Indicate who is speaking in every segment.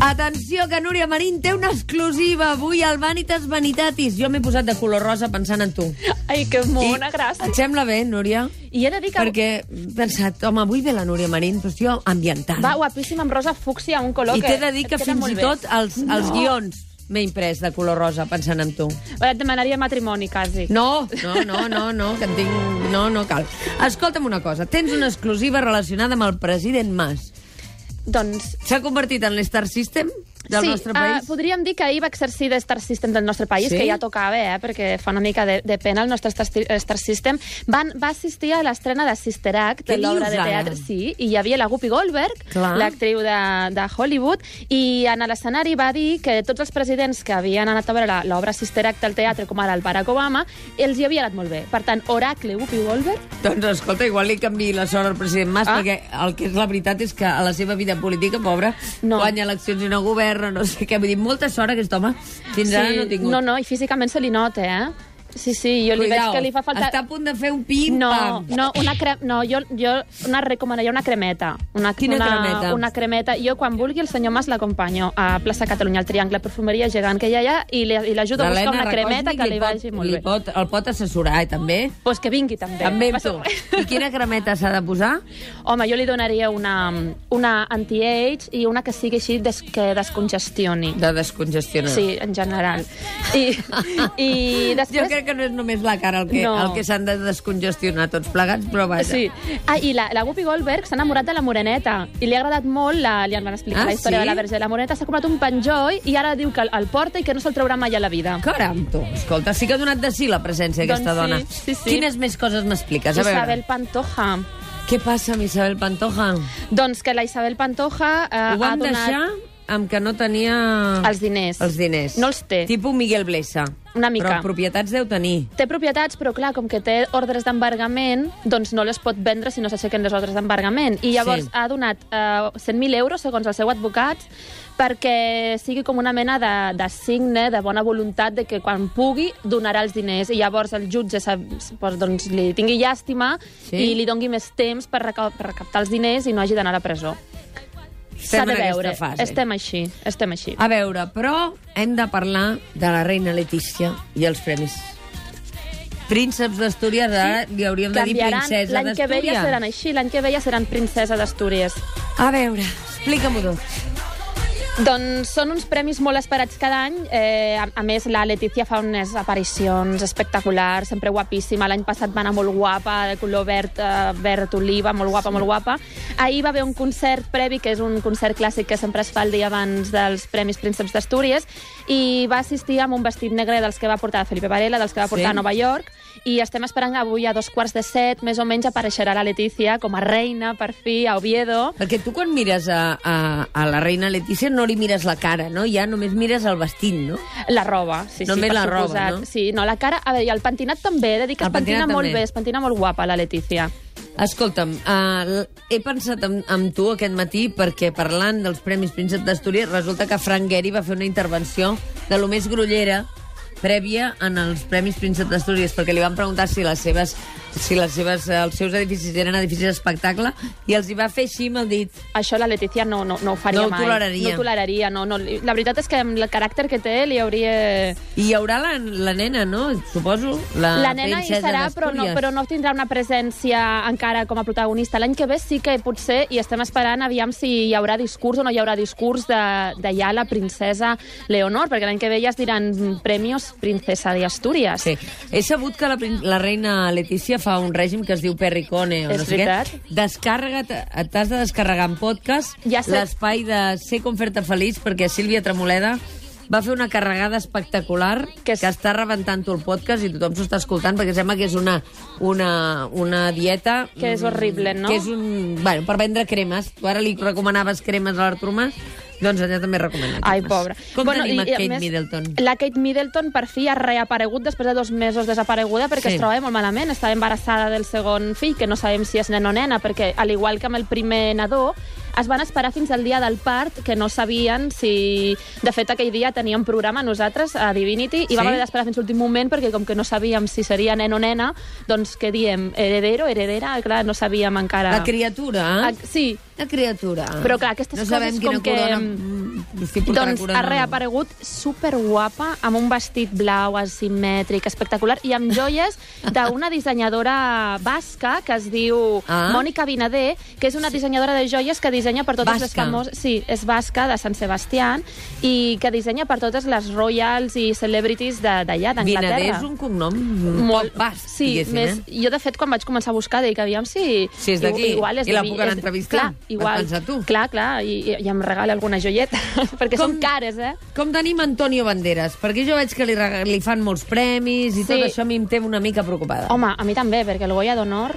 Speaker 1: Atenció, que Núria Marín té una exclusiva avui al Vanitas Vanitatis. Jo m'he posat de color rosa pensant en tu.
Speaker 2: Ai, que mona, gràcies.
Speaker 1: Et sembla bé, Núria?
Speaker 2: I he de dir que...
Speaker 1: Perquè he pensat, home, avui ve la Núria Marín, però estic ambientant.
Speaker 2: Va guapíssima, amb rosa fúcsia, un color
Speaker 1: I
Speaker 2: que...
Speaker 1: t'he de dir
Speaker 2: et
Speaker 1: que
Speaker 2: queda
Speaker 1: fins
Speaker 2: molt
Speaker 1: i
Speaker 2: bé.
Speaker 1: tot els, els guions m'he imprès de color rosa pensant en tu.
Speaker 2: Et demanaria matrimoni, quasi.
Speaker 1: No, no, no, no, no, que en tinc... No, no cal. Escolta'm una cosa, tens una exclusiva relacionada amb el president Mas.
Speaker 2: Doncs...
Speaker 1: S'ha convertit en l'Star System del
Speaker 2: sí,
Speaker 1: nostre
Speaker 2: eh,
Speaker 1: país?
Speaker 2: podríem dir que ahir va exercir de Star System del nostre país,
Speaker 1: Sí?
Speaker 2: que ja tocava, eh, perquè fa una mica de, de pena el nostre Star, eh, Star System. Van, va assistir a l'estrena de Sister Act,
Speaker 1: Què
Speaker 2: de l'obra
Speaker 1: dius,
Speaker 2: de
Speaker 1: ara?
Speaker 2: teatre. Sí, i hi havia la Guppy Goldberg,
Speaker 1: Clar.
Speaker 2: l'actriu de, de Hollywood, i en l'escenari va dir que tots els presidents que havien anat a veure la- l'obra Sister Act al teatre, com ara el Barack Obama, els hi havia anat molt bé. Per tant, Oracle, Guppy Goldberg,
Speaker 1: Doncs escolta, igual li canvi la sort al president Mas, ah.
Speaker 2: Ah.
Speaker 1: perquè el que és la veritat és que a la seva vida política, pobra, no.
Speaker 2: No.
Speaker 1: guanya eleccions i no governa, no sé què. Vull dir, molta sort aquest home. Fins sí. ara no ha tingut.
Speaker 2: no, no, i físicament se li nota, eh? Sí, sí, jo li veig que li fa falta...
Speaker 1: està a punt de fer un pim
Speaker 2: No,
Speaker 1: pam.
Speaker 2: no, una cre... no jo, jo una recomanaria una cremeta. Una,
Speaker 1: Quina
Speaker 2: una,
Speaker 1: cremeta?
Speaker 2: Una cremeta. Jo, quan vulgui, el senyor Mas l'acompanyo a plaça Catalunya, al Triangle Perfumeria Gegant que hi ha allà, i li- i l'ajudo a buscar una
Speaker 1: Recòsnic
Speaker 2: cremeta que li,
Speaker 1: pot-
Speaker 2: vagi molt
Speaker 1: li
Speaker 2: bé. Doncs
Speaker 1: Pot, el pot assessorar, eh, també.
Speaker 2: pues que vingui, també.
Speaker 1: També amb
Speaker 2: Passa
Speaker 1: tu.
Speaker 2: res.
Speaker 1: I quina cremeta s'ha de posar?
Speaker 2: Home, jo li donaria una, una anti-age i una que sigui així des, que descongestioni.
Speaker 1: De descongestionar.
Speaker 2: Sí, en general. I, i
Speaker 1: Jo
Speaker 2: després...
Speaker 1: crec que no és només la cara el que,
Speaker 2: No.
Speaker 1: el que s'han de descongestionar tots plegats, però vaja.
Speaker 2: Sí. Ah, i la, la Guppy Goldberg s'ha enamorat de la Moreneta i li ha agradat molt, la, li en van explicar
Speaker 1: Ah,
Speaker 2: la història
Speaker 1: sí?
Speaker 2: de la Verge de la Moreneta, s'ha comprat un penjoll i ara diu que el, el porta i que no se'l traurà mai a la vida.
Speaker 1: Caram, tu. Escolta, sí que ha donat de sí la presència
Speaker 2: Doncs
Speaker 1: d'aquesta
Speaker 2: sí,
Speaker 1: dona.
Speaker 2: sí, sí.
Speaker 1: Quines més coses m'expliques? A veure,
Speaker 2: Isabel Pantoja.
Speaker 1: què passa amb Isabel Pantoja? Uh,
Speaker 2: Doncs que la Isabel Pantoja eh,
Speaker 1: Ho
Speaker 2: ha
Speaker 1: vam
Speaker 2: donat
Speaker 1: deixar amb que no tenia...
Speaker 2: els diners.
Speaker 1: Els diners.
Speaker 2: No els té.
Speaker 1: Tipo Miguel Blesa.
Speaker 2: Una mica.
Speaker 1: Però propietats deu tenir.
Speaker 2: Té propietats, però clar, com que té ordres d'embargament, doncs no les pot vendre si no s'aixequen les ordres d'embargament. I llavors
Speaker 1: Sí.
Speaker 2: sí. ha donat eh, 100.000 euros, segons el seu advocat, perquè sigui com una mena de, de signe, de bona voluntat, de que quan pugui donarà els diners. I llavors el jutge sap- pues, doncs, li tingui llàstima
Speaker 1: Sí.
Speaker 2: sí. i li doni més temps per, reca per recaptar els diners i no hagi d'anar a la presó. S'ha
Speaker 1: Estem
Speaker 2: de
Speaker 1: en aquesta
Speaker 2: veure.
Speaker 1: fase. Ah,
Speaker 2: Estem així, estem així.
Speaker 1: A veure, però hem de parlar de la reina Letícia i els premis. Prínceps d'Astúries, ara li hauríem de dir
Speaker 2: Canviaran.
Speaker 1: princesa
Speaker 2: L'any que ve ja seran
Speaker 1: d'Astúries.
Speaker 2: així, l'any que ve ja seran princesa d'Astúries.
Speaker 1: A veure, explica-m'ho tot.
Speaker 2: Doncs són uns premis molt esperats cada any. Eh, a, a més, la Letícia fa unes aparicions espectaculars, sempre guapíssima. L'any passat va anar molt guapa, de color verd, eh, verd oliva, molt guapa, sí. molt guapa. Ahir va haver un concert previ, que és un concert clàssic que sempre es fa el dia abans dels Premis Prínceps d'Astúries, i va assistir amb un vestit negre dels que va portar Felipe Varela, dels que va portar
Speaker 1: Sí.
Speaker 2: sí. a Nova York, i estem esperant que avui a dos quarts de set, més o menys, apareixerà la Letícia com a reina, per fi, a Oviedo.
Speaker 1: Perquè tu quan mires a, a, a la reina Letícia no li mires la cara, no? Ja només mires el vestit, no?
Speaker 2: La roba, sí,
Speaker 1: Només
Speaker 2: sí, per
Speaker 1: la roba,
Speaker 2: suposat.
Speaker 1: no?
Speaker 2: Sí, no, la cara... A veure, i el pentinat també, he de dir que
Speaker 1: El
Speaker 2: es pentina
Speaker 1: pentinat
Speaker 2: molt
Speaker 1: també.
Speaker 2: bé, es pentina molt guapa, la Letícia.
Speaker 1: Escolta'm, uh, he pensat en, en tu aquest matí perquè parlant dels Premis Príncep d'Astúries resulta que Frank Gehry va fer una intervenció de lo més grollera prèvia en els Premis Príncep d'Astúries perquè li van preguntar si les seves, si les seves, eh, els seus edificis eren edificis d'espectacle i els hi va fer així amb el dit.
Speaker 2: Això la Letícia no, no, no ho faria
Speaker 1: No ho
Speaker 2: mai.
Speaker 1: toleraria.
Speaker 2: No ho toleraria, no, no. li- La veritat és que amb el caràcter que té li hauria...
Speaker 1: I hi haurà la, la nena, no? Suposo. La,
Speaker 2: La nena hi
Speaker 1: Ah, princesa
Speaker 2: serà, però no,
Speaker 1: d'Astúries.
Speaker 2: però no tindrà una presència encara com a protagonista. L'any que ve sí que potser, i estem esperant aviam si hi haurà discurs o no hi haurà discurs de, de ja la princesa Leonor, perquè l'any que ve ja es diran premios princesa de Astúries.
Speaker 1: Sí. He sabut que la, prin- la reina Letícia fa un règim que es diu Perricone. O
Speaker 2: És
Speaker 1: no sé
Speaker 2: veritat?
Speaker 1: Què. Descarrega't, t'has de descarregar en podcast
Speaker 2: Ja
Speaker 1: ja
Speaker 2: sé.
Speaker 1: l'espai de Ser com fer-te feliç, perquè Sílvia Tremoleda va fer una carregada espectacular que,
Speaker 2: Que
Speaker 1: es...
Speaker 2: és-
Speaker 1: que està rebentant el podcast i tothom s'ho està escoltant perquè sembla que és una, una, una dieta...
Speaker 2: Que és
Speaker 1: mm,
Speaker 2: horrible, no?
Speaker 1: Que és un... Bueno, per vendre cremes. Tu ara li recomanaves cremes a l'Artur Mas, doncs allà també recomana cremes.
Speaker 2: Ai, pobra.
Speaker 1: Com bueno, tenim
Speaker 2: i-
Speaker 1: a
Speaker 2: i,
Speaker 1: Kate més... Middleton?
Speaker 2: La Kate Middleton per fi ha reaparegut després de dos mesos desapareguda perquè
Speaker 1: Sí.
Speaker 2: sí. es trobava molt malament. Estava embarassada del segon fill, que no sabem si és nen o nena, perquè, al igual que amb el primer nadó, es van esperar fins al dia del part, que no sabien si... De fet, aquell dia teníem programa nosaltres a Divinity i
Speaker 1: Sí?
Speaker 2: vam haver d'esperar fins l'últim moment perquè com que no sabíem si seria nen o nena, doncs què diem? Heredero, heredera? Clar, no sabíem encara...
Speaker 1: La criatura,
Speaker 2: Ah,
Speaker 1: eh?
Speaker 2: Sí,
Speaker 1: La criatura.
Speaker 2: Però, clar, aquestes
Speaker 1: no
Speaker 2: coses
Speaker 1: sabem
Speaker 2: com
Speaker 1: quina
Speaker 2: que-
Speaker 1: corona... mm, Si portarà
Speaker 2: doncs
Speaker 1: corona
Speaker 2: ha
Speaker 1: o no.
Speaker 2: reaparegut superguapa, amb un vestit blau, asimètric, espectacular, i amb joies d'una dissenyadora basca que es diu
Speaker 1: Ah.
Speaker 2: ah. Mònica Vinader, que és una dissenyadora de joies que dissenya per totes les
Speaker 1: Basca.
Speaker 2: famoses... Sí, és basca, de Sant Sebastià, i que dissenya per totes les royals i celebrities de- d'allà, d'Anglaterra.
Speaker 1: Vinader és un cognom molt basc,
Speaker 2: sí,
Speaker 1: diguéssim,
Speaker 2: més,
Speaker 1: eh?
Speaker 2: Jo, de fet, quan vaig començar a buscar, dic, aviam si...
Speaker 1: Si és d'aquí,
Speaker 2: i- igual
Speaker 1: i
Speaker 2: és
Speaker 1: la
Speaker 2: de Vi-
Speaker 1: puc anar
Speaker 2: és-
Speaker 1: a entrevistar,
Speaker 2: Clar,
Speaker 1: vas
Speaker 2: igual,
Speaker 1: pensar tu.
Speaker 2: Clar, clar, i, i, i em regala alguna joieta, perquè
Speaker 1: Com-
Speaker 2: són cares, eh?
Speaker 1: Com tenim Antonio Banderas? Perquè jo veig que li, rega- li fan molts premis i
Speaker 2: Sí.
Speaker 1: tot això a mi em té una mica preocupada.
Speaker 2: Home, a mi també, perquè el Goya d'Honor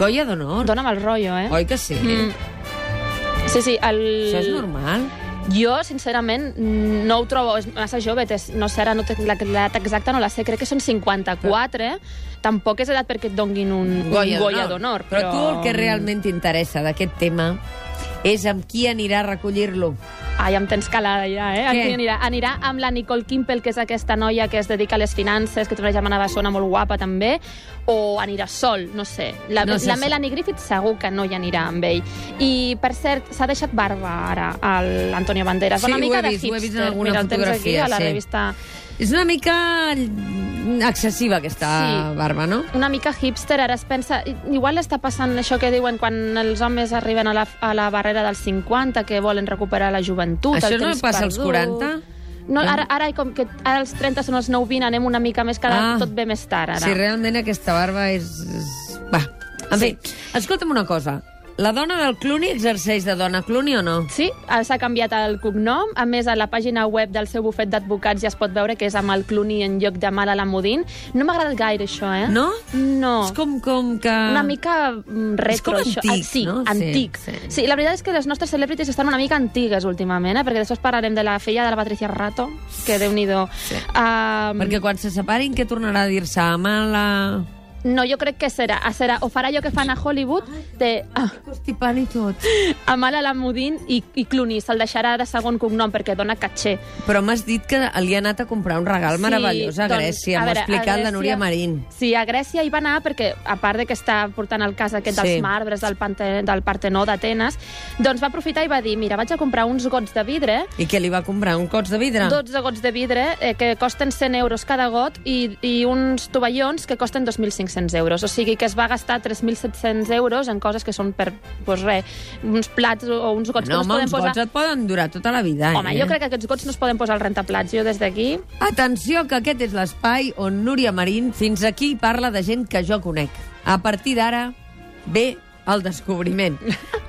Speaker 1: Colla d'honor,
Speaker 2: dona mal rotllo, eh?
Speaker 1: oi que sí?
Speaker 2: Mm. Sí, sí, el...
Speaker 1: Això és normal.
Speaker 2: Jo, sincerament, no ho trobo... És massa jove, té, no sé, ara no té la- l'edat exacta, no la sé, crec que són 54, eh? Tampoc és edat perquè et donguin un un Goya d'Honor.
Speaker 1: Però... tu el que realment t'interessa d'aquest tema és amb qui anirà a recollir-lo.
Speaker 2: Ai, em tens calada ja, eh?
Speaker 1: Què?
Speaker 2: Aquí anirà, anirà amb la Nicole Kimpel, que és aquesta noia que es dedica a les finances, que té una germana bessona molt guapa també, o anirà sol, no sé. La,
Speaker 1: No
Speaker 2: no
Speaker 1: sé
Speaker 2: sé la
Speaker 1: si-
Speaker 2: Melanie Griffith segur que no hi anirà amb ell. I, per cert, s'ha deixat barba ara, a l'Antonio Banderas.
Speaker 1: Sí,
Speaker 2: una
Speaker 1: ho he
Speaker 2: mica de
Speaker 1: vist, ho he
Speaker 2: hipster.
Speaker 1: vist en alguna
Speaker 2: Mira, el tens aquí
Speaker 1: fotografia,
Speaker 2: a la
Speaker 1: sí.
Speaker 2: revista...
Speaker 1: És una mica ll- excessiva, aquesta
Speaker 2: Sí.
Speaker 1: barba, no?
Speaker 2: una mica hipster, ara es pensa... i- Igual està passant això que diuen quan els homes arriben a la, a la barrera dels 50, que volen recuperar la joventut,
Speaker 1: Això
Speaker 2: el
Speaker 1: no
Speaker 2: temps
Speaker 1: passa als Eh?
Speaker 2: perdut.
Speaker 1: 40?
Speaker 2: No, ara, ara, com que ara els 30 són els 9-20, anem una mica més, cada
Speaker 1: Ah.
Speaker 2: ah. tot ve més tard, ara.
Speaker 1: Si realment aquesta barba és... és- Va, en
Speaker 2: Sí.
Speaker 1: fi, escolta'm una cosa. La dona del Clooney exerceix de dona Clooney o no?
Speaker 2: Sí, eh, s'ha canviat el cognom. A més, a la pàgina web del seu bufet d'advocats ja es pot veure que és amb el Clooney en lloc de Mal Alamudin. No m'ha agradat gaire, això, eh?
Speaker 1: No?
Speaker 2: No.
Speaker 1: És com, com que...
Speaker 2: una mica mm, retro.
Speaker 1: Ah. com
Speaker 2: això.
Speaker 1: antic,
Speaker 2: Ah, sí,
Speaker 1: no? Sí,
Speaker 2: antic.
Speaker 1: sí.
Speaker 2: Sí, sí. la veritat és que les nostres celebrities estan una mica antigues últimament, eh? perquè després parlarem de la filla de la Patricia Rato, que déu-n'hi-do.
Speaker 1: Sí.
Speaker 2: Um,
Speaker 1: Perquè quan se separin, què tornarà a dir-se? Mala...
Speaker 2: No, jo crec que serà, serà, o farà allò que fan a Hollywood, de ah,
Speaker 1: Constipant i tot.
Speaker 2: Amal Alamudin i, i Clooney, se'l deixarà de segon cognom perquè dona caché.
Speaker 1: Però m'has dit que li ha anat a comprar un regal
Speaker 2: Sí,
Speaker 1: meravellós a
Speaker 2: doncs,
Speaker 1: Grècia.
Speaker 2: a
Speaker 1: M'ho ha
Speaker 2: veure, a
Speaker 1: explicat la
Speaker 2: Grècia-
Speaker 1: Núria Marín.
Speaker 2: Sí, a Grècia hi va anar perquè, a part de que està portant el cas aquest
Speaker 1: Sí.
Speaker 2: dels marbres del, Pante, del Partenó d'Atenes, doncs va aprofitar i va dir, mira, vaig a comprar uns gots de vidre
Speaker 1: I què li va comprar? Un cots de vidre?
Speaker 2: 12 gots de vidre eh, que costen 100 euros cada got i, i uns tovallons que costen 2.500 euros. O sigui que es va gastar 3.700 euros en coses que són per, pues res, uns plats o uns gots
Speaker 1: no,
Speaker 2: que
Speaker 1: home,
Speaker 2: no es
Speaker 1: uns
Speaker 2: poden posar...
Speaker 1: gots et poden durar tota la vida.
Speaker 2: Home,
Speaker 1: eh?
Speaker 2: jo crec que aquests gots no es poden posar al rentaplats. Jo des d'aquí...
Speaker 1: Atenció, que aquest és l'espai on Núria Marín fins aquí parla de gent que jo conec. A partir d'ara ve el descobriment.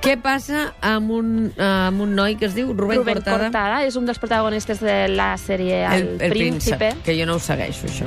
Speaker 1: Què passa amb un, eh, amb un noi que es diu Rubén,
Speaker 2: Rubén Cortada. és un dels protagonistes de la sèrie El,
Speaker 1: el
Speaker 2: Príncipe.
Speaker 1: príncep, que jo no ho segueixo, això.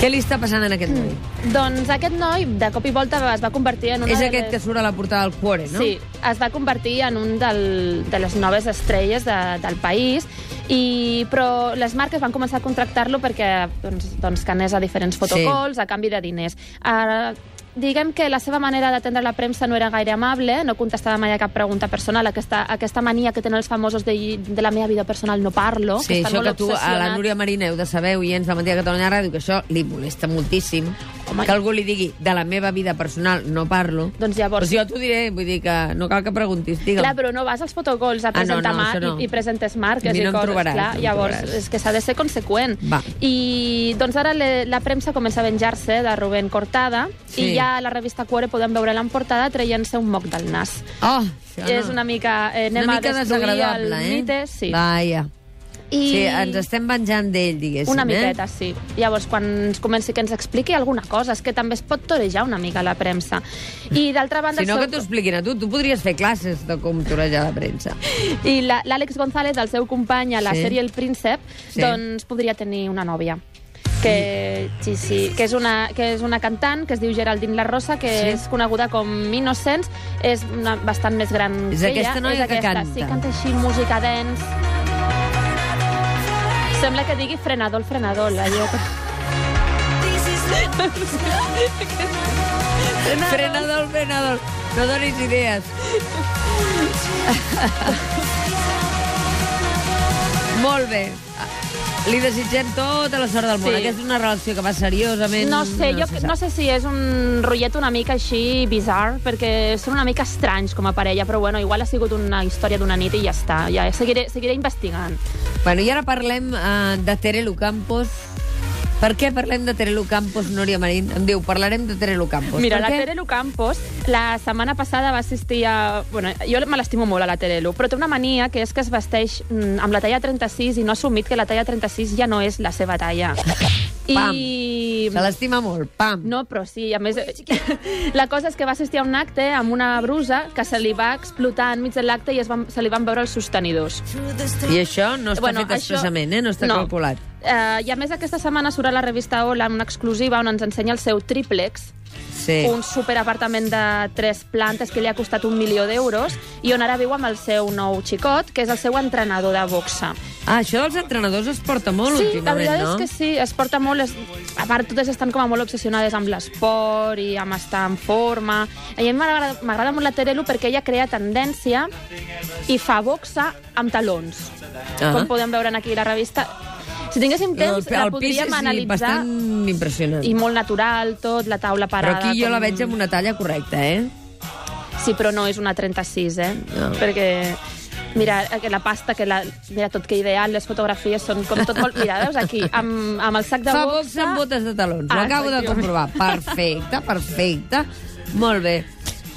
Speaker 1: Què li està passant en aquest noi?
Speaker 2: Doncs aquest noi, de cop i volta, es va convertir en una...
Speaker 1: És
Speaker 2: de
Speaker 1: aquest
Speaker 2: les-
Speaker 1: que surt a la portada del Cuore, no?
Speaker 2: Sí, es va convertir en un del, de les noves estrelles de, del país, i, però les marques van començar a contractar-lo perquè doncs, doncs, que anés a diferents fotocols a canvi de diners. Ara, diguem que la seva manera d'atendre la premsa no era gaire amable, no contestava mai a cap pregunta personal, aquesta, aquesta mania que tenen els famosos de, de la meva vida personal no parlo,
Speaker 1: Sí,
Speaker 2: estan
Speaker 1: això que
Speaker 2: Oh, molt
Speaker 1: tu a la
Speaker 2: obsessionats.
Speaker 1: Núria Marín heu de saber, oients de Matí de Catalunya Ràdio, que això li molesta moltíssim.
Speaker 2: Home.
Speaker 1: que algú li digui, de la meva vida personal no parlo.
Speaker 2: Doncs llavors...
Speaker 1: Pues jo t'ho diré, vull dir que no cal que preguntis, digue'm.
Speaker 2: Clar, però no vas als protocols a
Speaker 1: Ah, no,
Speaker 2: presentar
Speaker 1: no,
Speaker 2: mar
Speaker 1: això no.
Speaker 2: i, i presentes
Speaker 1: A
Speaker 2: marques
Speaker 1: mi no
Speaker 2: i
Speaker 1: em
Speaker 2: coses.
Speaker 1: trobaràs,
Speaker 2: clar,
Speaker 1: no em
Speaker 2: llavors,
Speaker 1: trobaràs.
Speaker 2: és que s'ha de ser conseqüent.
Speaker 1: Va.
Speaker 2: I doncs ara le, la premsa comença a venjar-se de Rubén Cortada
Speaker 1: Sí.
Speaker 2: i ja a la revista Cuore podem veure en portada traient-se un moc del nas.
Speaker 1: Oh,
Speaker 2: Ja
Speaker 1: això
Speaker 2: És una mica... Eh, anem
Speaker 1: una mica
Speaker 2: a destruir el
Speaker 1: desagradable, eh?
Speaker 2: mite, sí.
Speaker 1: Vaja.
Speaker 2: I...
Speaker 1: Sí, ens estem venjant d'ell, diguéssim,
Speaker 2: Una
Speaker 1: eh?
Speaker 2: miqueta, sí. Llavors, quan ens comenci que ens expliqui alguna cosa, és que també es pot torejar una mica la premsa. I d'altra banda...
Speaker 1: Si no,
Speaker 2: el
Speaker 1: que
Speaker 2: seu-
Speaker 1: t'ho expliquin a tu. Tu podries fer classes de com torejar la premsa.
Speaker 2: I la- l'Àlex González, el seu company a la
Speaker 1: Sí.
Speaker 2: sí. sèrie El Príncep,
Speaker 1: Sí.
Speaker 2: sí. doncs podria tenir una nòvia. Que, sí, sí, que, és una, que és una cantant que es diu Geraldine La Rosa, que
Speaker 1: Sí.
Speaker 2: sí. és coneguda com Innocents, és una, bastant més gran
Speaker 1: És
Speaker 2: que
Speaker 1: aquesta
Speaker 2: ella.
Speaker 1: noia que canta.
Speaker 2: Sí, canta així, música dance. Sembla que digui frenador, frenador, allò que...
Speaker 1: Frenador, frenador. No donis idees. Molt bé. Li desitgem tota la sort del món.
Speaker 2: Sí.
Speaker 1: Aquesta és una relació que va seriosament...
Speaker 2: No sé, jo
Speaker 1: se
Speaker 2: no
Speaker 1: sap.
Speaker 2: sé si és un rotllet una mica així bizar, perquè són una mica estranys com a parella, però bueno, igual ha sigut una història d'una nit i ja està. Ja seguiré, seguiré investigant.
Speaker 1: Bueno, i ara parlem eh, de Terelu Campos. Per què parlem de Terelu Campos, Núria Marín? Em diu, parlarem de Terelu Campos.
Speaker 2: Mira,
Speaker 1: per
Speaker 2: la
Speaker 1: què?
Speaker 2: Terelu Campos la setmana passada va assistir a... Bueno, jo me l'estimo molt a la Terelu, però té una mania que és que es vesteix mm, amb la talla 36 i no ha assumit que la talla 36 ja no és la seva talla.
Speaker 1: Pam.
Speaker 2: I...
Speaker 1: Se l'estima molt, pam.
Speaker 2: No, però sí, a més... la cosa és que va assistir a un acte amb una brusa que se li va explotar enmig de l'acte i es van, se li van veure els sostenidors.
Speaker 1: I això no està bueno, fet expressament, eh? No està calculat.
Speaker 2: Eh, I a més, aquesta setmana surt a la revista Hola una exclusiva on ens ensenya el seu triplex,
Speaker 1: Sí.
Speaker 2: un superapartament de tres plantes que li ha costat un milió d'euros i on ara viu amb el seu nou xicot, que és el seu entrenador de boxa.
Speaker 1: Ah, això dels entrenadors es porta molt
Speaker 2: sí, la
Speaker 1: últimament,
Speaker 2: veritat
Speaker 1: no?
Speaker 2: és que sí, es porta molt... Es... A part, totes estan com a molt obsessionades amb l'esport i amb estar en forma. I a mi m'agrada m'agrada molt la Terelu perquè ella crea tendència i fa boxa amb talons.
Speaker 1: Ah.
Speaker 2: Com podem veure en aquí la revista. Si tinguéssim temps,
Speaker 1: Doncs el,
Speaker 2: Doncs la
Speaker 1: el pis
Speaker 2: podríem
Speaker 1: és
Speaker 2: analitzar...
Speaker 1: bastant impressionant.
Speaker 2: I molt natural, tot, la taula
Speaker 1: Però
Speaker 2: parada...
Speaker 1: aquí jo la veig amb una talla correcta, eh?
Speaker 2: Sí, però no és una 36, eh?
Speaker 1: No.
Speaker 2: Perquè... Mira, eh, que la pasta, que la... Mira, tot que ideal, les fotografies són com tot molt... Mira, veus aquí, amb, amb el sac de
Speaker 1: Fa
Speaker 2: boxa...
Speaker 1: boxa amb botes de talons.
Speaker 2: Ah,
Speaker 1: Ho acabo de comprovar.
Speaker 2: efectivament.
Speaker 1: Perfecte, perfecte. Molt bé.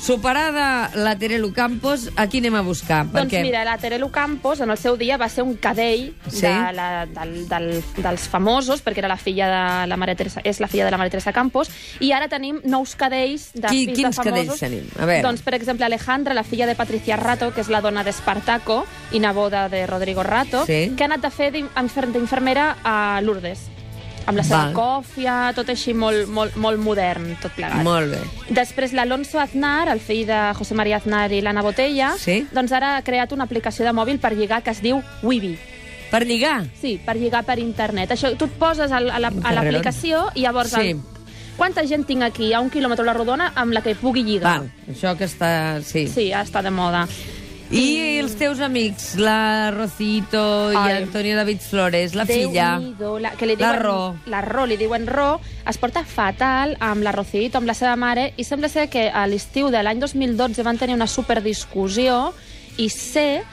Speaker 1: Superada la Terelu Campos, a qui anem a buscar?
Speaker 2: Doncs mira, la Terelu Campos en el seu dia va ser un cadell
Speaker 1: Sí.
Speaker 2: de la, del, del, dels famosos, perquè era la filla de la Maria Teresa, és la filla de la Maria Teresa Campos, i ara tenim nous cadells de
Speaker 1: Qui-
Speaker 2: fills
Speaker 1: quins
Speaker 2: de famosos.
Speaker 1: cadells tenim? A veure.
Speaker 2: Doncs, per exemple, Alejandra, la filla de Patricia Rato, que és la dona d'Espartaco i neboda de Rodrigo Rato,
Speaker 1: Sí.
Speaker 2: que ha anat de fer d'in- infer- d'infermera a Lourdes amb la seva
Speaker 1: Val.
Speaker 2: còfia, tot així molt, molt, molt modern, tot plegat.
Speaker 1: Molt bé.
Speaker 2: Després l'Alonso Aznar, el fill de José María Aznar i l'Anna Botella,
Speaker 1: Sí.
Speaker 2: doncs ara ha creat una aplicació de mòbil per lligar que es diu Wibi.
Speaker 1: Per lligar?
Speaker 2: Sí, per lligar per internet. Això, tu et poses al- a la- a l'aplicació i llavors...
Speaker 1: Sí.
Speaker 2: El, quanta gent tinc aquí a un quilòmetre a la rodona amb la que pugui lligar?
Speaker 1: Val, això que està... Sí.
Speaker 2: Sí, està de moda.
Speaker 1: I els teus amics, la Rocito i
Speaker 2: Ai.
Speaker 1: Antonio David Flores, la filla...
Speaker 2: Déu-n'hi-do, la, que li
Speaker 1: La
Speaker 2: diuen,
Speaker 1: Ro.
Speaker 2: La Ro, li diuen Ro, es porta fatal amb la Rocito, amb la seva mare, i sembla ser que a l'estiu de l'any 2012 van tenir una superdiscussió i sé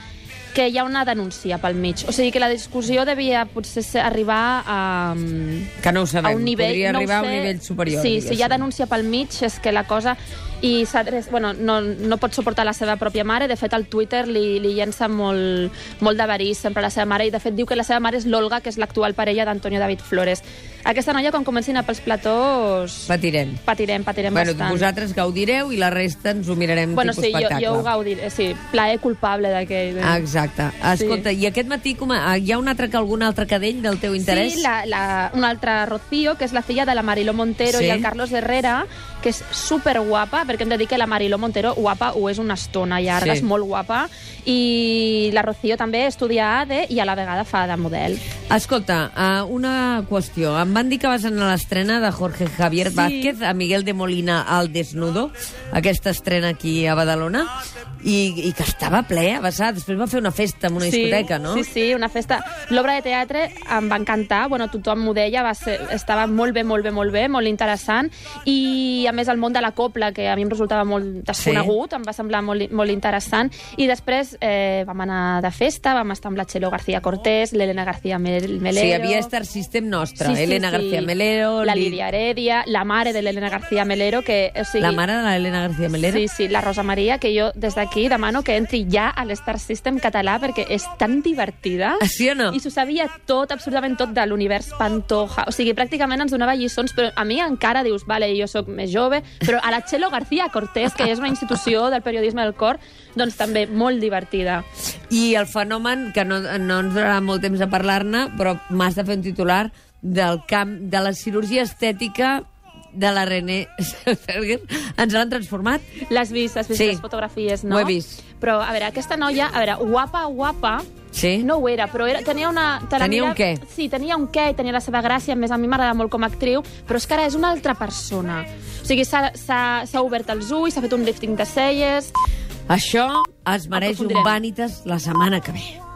Speaker 2: que hi ha una denúncia pel mig. O sigui que la discussió devia potser ser arribar a, mm,
Speaker 1: Que no ho sabem.
Speaker 2: a un nivell...
Speaker 1: Podria
Speaker 2: no ho
Speaker 1: arribar a un
Speaker 2: sé.
Speaker 1: nivell superior.
Speaker 2: Sí, si hi ha
Speaker 1: diguéssim.
Speaker 2: denúncia pel mig és que la cosa... I s'adreça- bueno, no, no pot suportar la seva pròpia mare. De fet, al Twitter li, li llença molt, molt d'avarís sempre a la seva mare i, de fet, diu que la seva mare és l'Olga, que és l'actual parella d'Antonio David Flores. Aquesta noia, quan comenci a anar pels platós...
Speaker 1: Patirem.
Speaker 2: Patirem, patirem
Speaker 1: Bueno,
Speaker 2: bastant.
Speaker 1: vosaltres gaudireu i la resta ens ho mirarem
Speaker 2: Bueno,
Speaker 1: tipus
Speaker 2: sí, jo,
Speaker 1: espectacle.
Speaker 2: jo ho eh. gaudiré. Sí, plaer culpable d'aquell.
Speaker 1: Ah, Exacte. Escolta, i aquest matí com a, hi ha un altre, algun altre cadell del teu interès?
Speaker 2: Sí, la, la, una altra Rocío, que és la filla de la Mariló Montero
Speaker 1: Sí.
Speaker 2: sí. i el Carlos Herrera, que és super guapa, perquè hem de dir que la Mariló Montero guapa ho és una estona llarga,
Speaker 1: Sí.
Speaker 2: sí. és molt guapa, i la Rocío també estudia ADE i a la vegada fa de model.
Speaker 1: Escolta, eh, una qüestió. Em van dir que vas anar a l'estrena de Jorge Javier
Speaker 2: Sí.
Speaker 1: Vázquez a Miguel de Molina al Desnudo, aquesta estrena aquí a Badalona, i, i que estava ple, a vessar. Després va fer una festa en una discoteca, no?
Speaker 2: Sí, sí, una festa. L'obra de teatre em va encantar, bueno, tothom m'ho deia, va ser, estava molt bé, molt bé, molt bé, molt interessant, i a més el món de la copla, que a mi em resultava molt desconegut, sí. em va semblar molt, molt interessant, i després eh, vam anar de festa, vam estar amb la Txelo García Cortés, l'Elena García Mel- Melero...
Speaker 1: Sí, hi havia Star System nostre,
Speaker 2: Sí, sí,
Speaker 1: Elena
Speaker 2: sí.
Speaker 1: García Melero,
Speaker 2: La
Speaker 1: Li-
Speaker 2: Lídia Heredia, la mare de l'Elena García Melero, que... O sigui,
Speaker 1: la mare de l'Elena García Melero.
Speaker 2: Sí, sí, la Rosa Maria, que jo des d'aquí demano que entri ja a l'Star System català perquè és tan divertida.
Speaker 1: Ah, sí o no?
Speaker 2: I s'ho sabia tot, absolutament tot, de l'univers Pantoja. O sigui, pràcticament ens donava lliçons, però a mi encara dius, vale, jo sóc més jove, però a la Txelo García Cortés, que és una institució del periodisme del cor, doncs també molt divertida.
Speaker 1: I el fenomen, que no, no ens donarà molt temps a parlar-ne, però m'has de fer un titular del camp de la cirurgia estètica de la René Zellweger. Ens l'han transformat?
Speaker 2: L'has vist, has vist
Speaker 1: Sí.
Speaker 2: les fotografies, no?
Speaker 1: Ho he vist.
Speaker 2: Però, a veure, aquesta noia, a veure, guapa, guapa,
Speaker 1: Sí?
Speaker 2: No ho era, però era, tenia una... Te la
Speaker 1: Tenia un
Speaker 2: mira-
Speaker 1: què?
Speaker 2: Sí, tenia un què i tenia la seva gràcia. A més, a mi m'agrada molt com a actriu, però és que ara és una altra persona. O sigui, s'ha- s'ha s'ha obert els ulls, s'ha fet un lifting de celles...
Speaker 1: Això es mereix un
Speaker 2: Aprofundirem.
Speaker 1: Vanitas la setmana que ve.